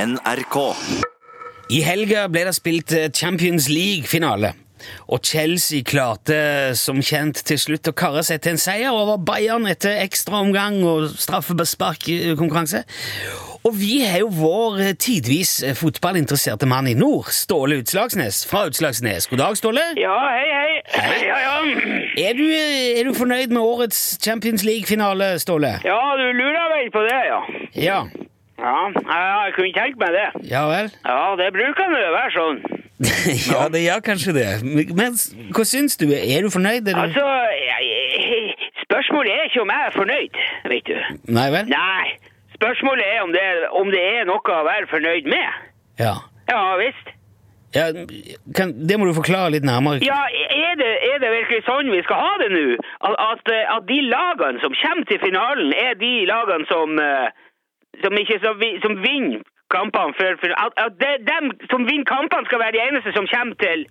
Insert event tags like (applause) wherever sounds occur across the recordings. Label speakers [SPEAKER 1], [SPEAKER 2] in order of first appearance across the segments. [SPEAKER 1] NRK.
[SPEAKER 2] I helga ble det spilt eh, Champions League-finale, og Chelsea klarte som kjent til slutt å karre seg til en seier over Bayern etter ekstraomgang og straffesparkkonkurranse. Og vi har jo vår eh, tidvis eh, fotballinteresserte mann i nord, Ståle Utslagsnes fra Utslagsnes. God dag, Ståle.
[SPEAKER 3] Ja, hei, hei.
[SPEAKER 2] Hei.
[SPEAKER 3] Ja, ja.
[SPEAKER 2] Er du, eh, er du fornøyd med årets Champions League-finale, Ståle?
[SPEAKER 3] ja, du lurer vel på det, ja.
[SPEAKER 2] Ja.
[SPEAKER 3] Ja, ja, jeg kunne tenkt meg det.
[SPEAKER 2] Ja vel? (laughs)
[SPEAKER 3] Ja, det bruker nå å være sånn.
[SPEAKER 2] ja, det gjør kanskje det. Men s- hva syns du? Er du fornøyd? Er du...
[SPEAKER 3] Altså, jeg, spørsmålet er ikke om jeg er fornøyd, vet du.
[SPEAKER 2] Nei vel?
[SPEAKER 3] Nei, spørsmålet er om det, om det er noe å være fornøyd med.
[SPEAKER 2] Ja.
[SPEAKER 3] Ja, visst.
[SPEAKER 2] Ja, kan, det må du forklare litt nærmere.
[SPEAKER 3] Ja, er det, er det virkelig sånn vi skal ha det nå? At, at, eh, at de lagene som kommer til finalen, er de lagene som, eh, som, ikke, som, vi- som vinner kampene før finalen? At, at det, dem som vinner kampene, skal være de eneste som kommer til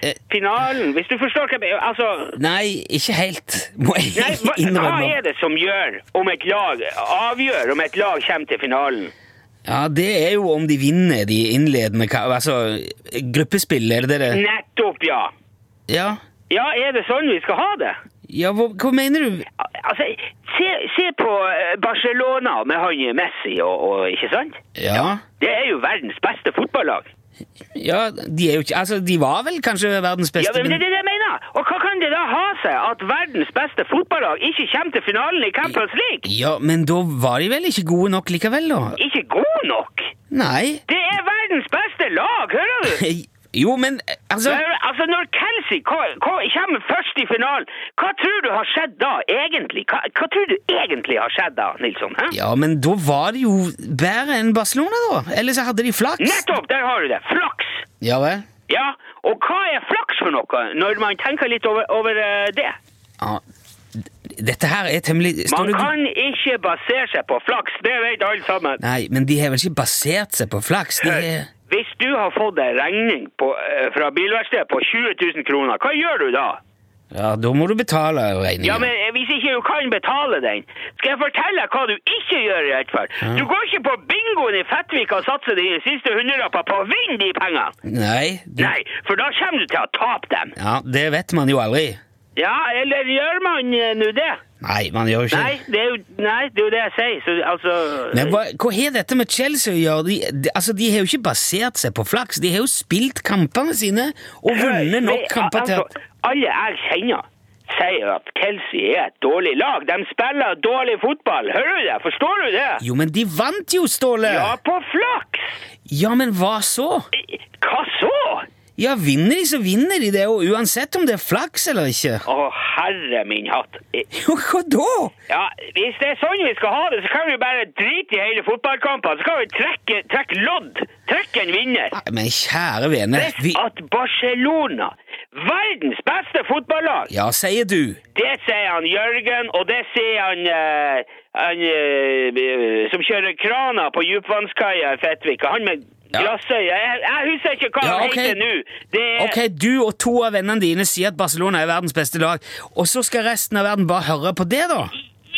[SPEAKER 2] Eh.
[SPEAKER 3] finalen? Hvis du forstår hva jeg mener? Altså,
[SPEAKER 2] Nei, ikke helt, må
[SPEAKER 3] nei,
[SPEAKER 2] jeg
[SPEAKER 3] hva, hva
[SPEAKER 2] innrømme.
[SPEAKER 3] er det som gjør om et lag avgjør om et lag kommer til finalen?
[SPEAKER 2] Ja, Det er jo om de vinner de innledende ka- Altså, gruppespill, er det det? det-
[SPEAKER 3] Nettopp, ja.
[SPEAKER 2] Ja,
[SPEAKER 3] Ja, er det sånn vi skal ha det?
[SPEAKER 2] ja hva, hva mener du?
[SPEAKER 3] Al- Altså, se, se på eh, Barcelona med han Messi og, og ikke sant?
[SPEAKER 2] Ja,
[SPEAKER 3] Det er jo verdens beste fotballag.
[SPEAKER 2] ja De er jo ikke Altså, de var vel kanskje verdens
[SPEAKER 3] Ja,
[SPEAKER 2] beste,
[SPEAKER 3] men det er det jeg mener! Og hva kan det da ha seg at verdens beste fotballag ikke kommer til finalen i Champions League?
[SPEAKER 2] Ja, men da var de vel ikke gode nok likevel, da?
[SPEAKER 3] Ikke god nok!
[SPEAKER 2] Nei. (laughs)
[SPEAKER 3] Det er verdens beste lag, hører du?
[SPEAKER 2] Jo, men altså
[SPEAKER 3] Hører- Altså, Når Kelsey ko- ko- kommer først i finalen, hva tror du har skjedd da, egentlig? Hva, hva tror du egentlig har skjedd da, Nilsson? Hæ?
[SPEAKER 2] Ja, men da var de jo bedre enn Barcelona, da. Eller så hadde de flaks.
[SPEAKER 3] Nettopp! Der har du det! Flaks!
[SPEAKER 2] Ja vel?
[SPEAKER 3] Ja, og hva er flaks for noe, når man tenker litt over, over eh, det?
[SPEAKER 2] Ja, d- dette her er temmelig Står
[SPEAKER 3] Man
[SPEAKER 2] det-
[SPEAKER 3] kan ikke basere seg på flaks, det vet alle sammen.
[SPEAKER 2] Nei, men de har vel ikke basert seg på flaks? De er...
[SPEAKER 3] Eh, Hvis du har fått en regning på, eh, fra bilverkstedet på 20 000 kroner, hva gjør du da?
[SPEAKER 2] Ja, da må du betale
[SPEAKER 3] Ja, men
[SPEAKER 2] regningen.
[SPEAKER 3] eh, Hvis ikke du kan betale den, skal jeg fortelle deg hva du ikke gjør. i hvert fall. Du går ikke på bingoen i Fettvika og satser dine siste hundrelapper på å vinne de pengene!
[SPEAKER 2] Nei, du...
[SPEAKER 3] Nei, for da kommer du til å tape dem.
[SPEAKER 2] Ja, det vet man jo aldri.
[SPEAKER 3] Ja, eller gjør man eh, nå det?
[SPEAKER 2] Nei, man gjør jo ikke
[SPEAKER 3] Nei, det er jo, nei, det er jo det jeg sier. Så, altså,
[SPEAKER 2] Men hva, hva har dette med Chelsea å gjøre? De, de, altså, de har jo ikke basert seg på flaks. De har jo spilt kampene sine og vunnet nok
[SPEAKER 3] Nei,
[SPEAKER 2] kamper til at
[SPEAKER 3] altså, Alle jeg kjenner, sier at Kelsey er et dårlig lag. De spiller dårlig fotball. Hører du det? Forstår du det?
[SPEAKER 2] Jo, men de vant jo, Ståle!
[SPEAKER 3] Ja, på flaks!
[SPEAKER 2] Ja, men hva så?
[SPEAKER 3] Hva så?
[SPEAKER 2] Ja, vinner de, så vinner de det, og uansett om det er flaks eller ikke. (laughs)
[SPEAKER 3] Å, herre min hatt.
[SPEAKER 2] Jo, hva da?
[SPEAKER 3] Ja, Hvis det er sånn vi skal ha det, så kan vi bare drite i hele fotballkampen. Så kan vi trekke, trekke lodd. Trekke en vinner.
[SPEAKER 2] Nei, men kjære vene,
[SPEAKER 3] Hvis
[SPEAKER 2] vi
[SPEAKER 3] at Barcelona, verdens beste fotballag,
[SPEAKER 2] Ja, sier du.
[SPEAKER 3] Det sier han Jørgen, og det sier han, eh, han eh, som kjører krana på djupvannskaia i Fettvika. Han med
[SPEAKER 2] Ja.
[SPEAKER 3] glassøye. Jeg, jeg husker ikke hva
[SPEAKER 2] Ja,
[SPEAKER 3] han
[SPEAKER 2] ok.
[SPEAKER 3] heter nå. Det er
[SPEAKER 2] Ok, du og to av vennene dine sier at Barcelona er verdens beste lag, og så skal resten av verden bare høre på det, da?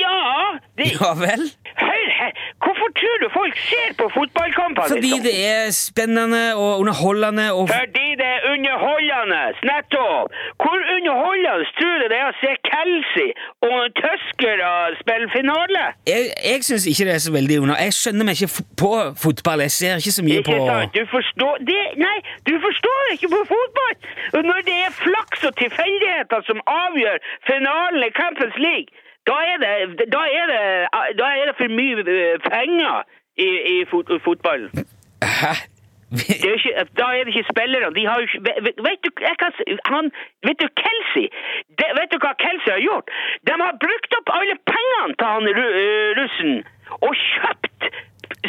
[SPEAKER 3] Ja! Det,
[SPEAKER 2] Ja vel?
[SPEAKER 3] Hør her! Hvorfor tror du folk ser på fotballkampene?
[SPEAKER 2] Fordi
[SPEAKER 3] liksom?
[SPEAKER 2] det er spennende og underholdende og
[SPEAKER 3] Fordi det er underholdende! Nettopp! Hvor underholdende tror du det er å se Kelsey og en tysker og spille finale?
[SPEAKER 2] Jeg, jeg syns ikke det er så veldig under... Jeg skjønner meg ikke f- på fotball. Jeg ser ikke så mye på
[SPEAKER 3] Ikke sant? Du forstår det, Nei, du forstår ikke på fotball! Og Når det er flaks og tilfeldigheter som avgjør finalen i Champions League, da er det, da er det, da er det for mye eh, penger i, i fot, fotballen.
[SPEAKER 2] Hæ?
[SPEAKER 3] Det er jo ikke, da er det ikke spillerne. De har jo ikke Vet, vet du, jeg kan, si- han, vet du Kelsey? Det, vet du hva Kelsey har gjort? De har brukt opp alle pengene til han ru, eh, russen og kjøpt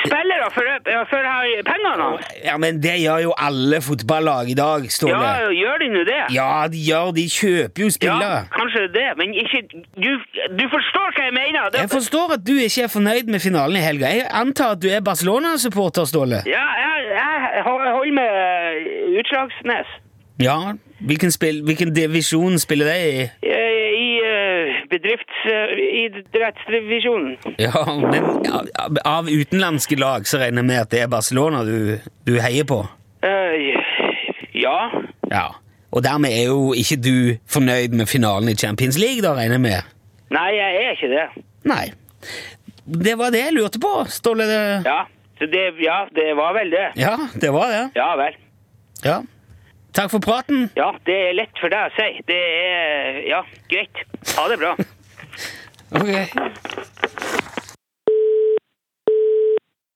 [SPEAKER 3] spillere for, for her- pengene hans.
[SPEAKER 2] Ja, men det gjør jo alle fotballag i dag, Ståle.
[SPEAKER 3] Ja, gjør de nå det?
[SPEAKER 2] Ja, de gjør De kjøper jo spillere.
[SPEAKER 3] kanskje det, men ikke Du, du forstår hva jeg mener? Det,
[SPEAKER 2] Jeg forstår at du ikke er fornøyd med finalen i helga. Jeg antar at du er Barcelona-supporter, Ståle.
[SPEAKER 3] Ja, jeg, jeg hold- jeg holder med eh, Utslagsnes.
[SPEAKER 2] Ja. Hvilken, spill, hvilken divisjon spiller de i?
[SPEAKER 3] Eh, I eh, bedriftsidrettsdivisjonen.
[SPEAKER 2] Ja, men av- av utenlandske lag så regner jeg med at det er Barcelona du, du heier på.
[SPEAKER 3] Eh, ja.
[SPEAKER 2] Ja. Og dermed er jo ikke du fornøyd med finalen i Champions League, da, regner jeg med?
[SPEAKER 3] Nei, jeg er ikke det.
[SPEAKER 2] Nei. Det var det jeg lurte på, Ståle. Det...
[SPEAKER 3] Ja, så det, ja, det var vel det.
[SPEAKER 2] Ja, det var det.
[SPEAKER 3] Ja vel.
[SPEAKER 2] Ja. Takk for praten.
[SPEAKER 3] Ja, det er lett for deg å si. Det er Ja, greit. Ha det bra.
[SPEAKER 2] Ok.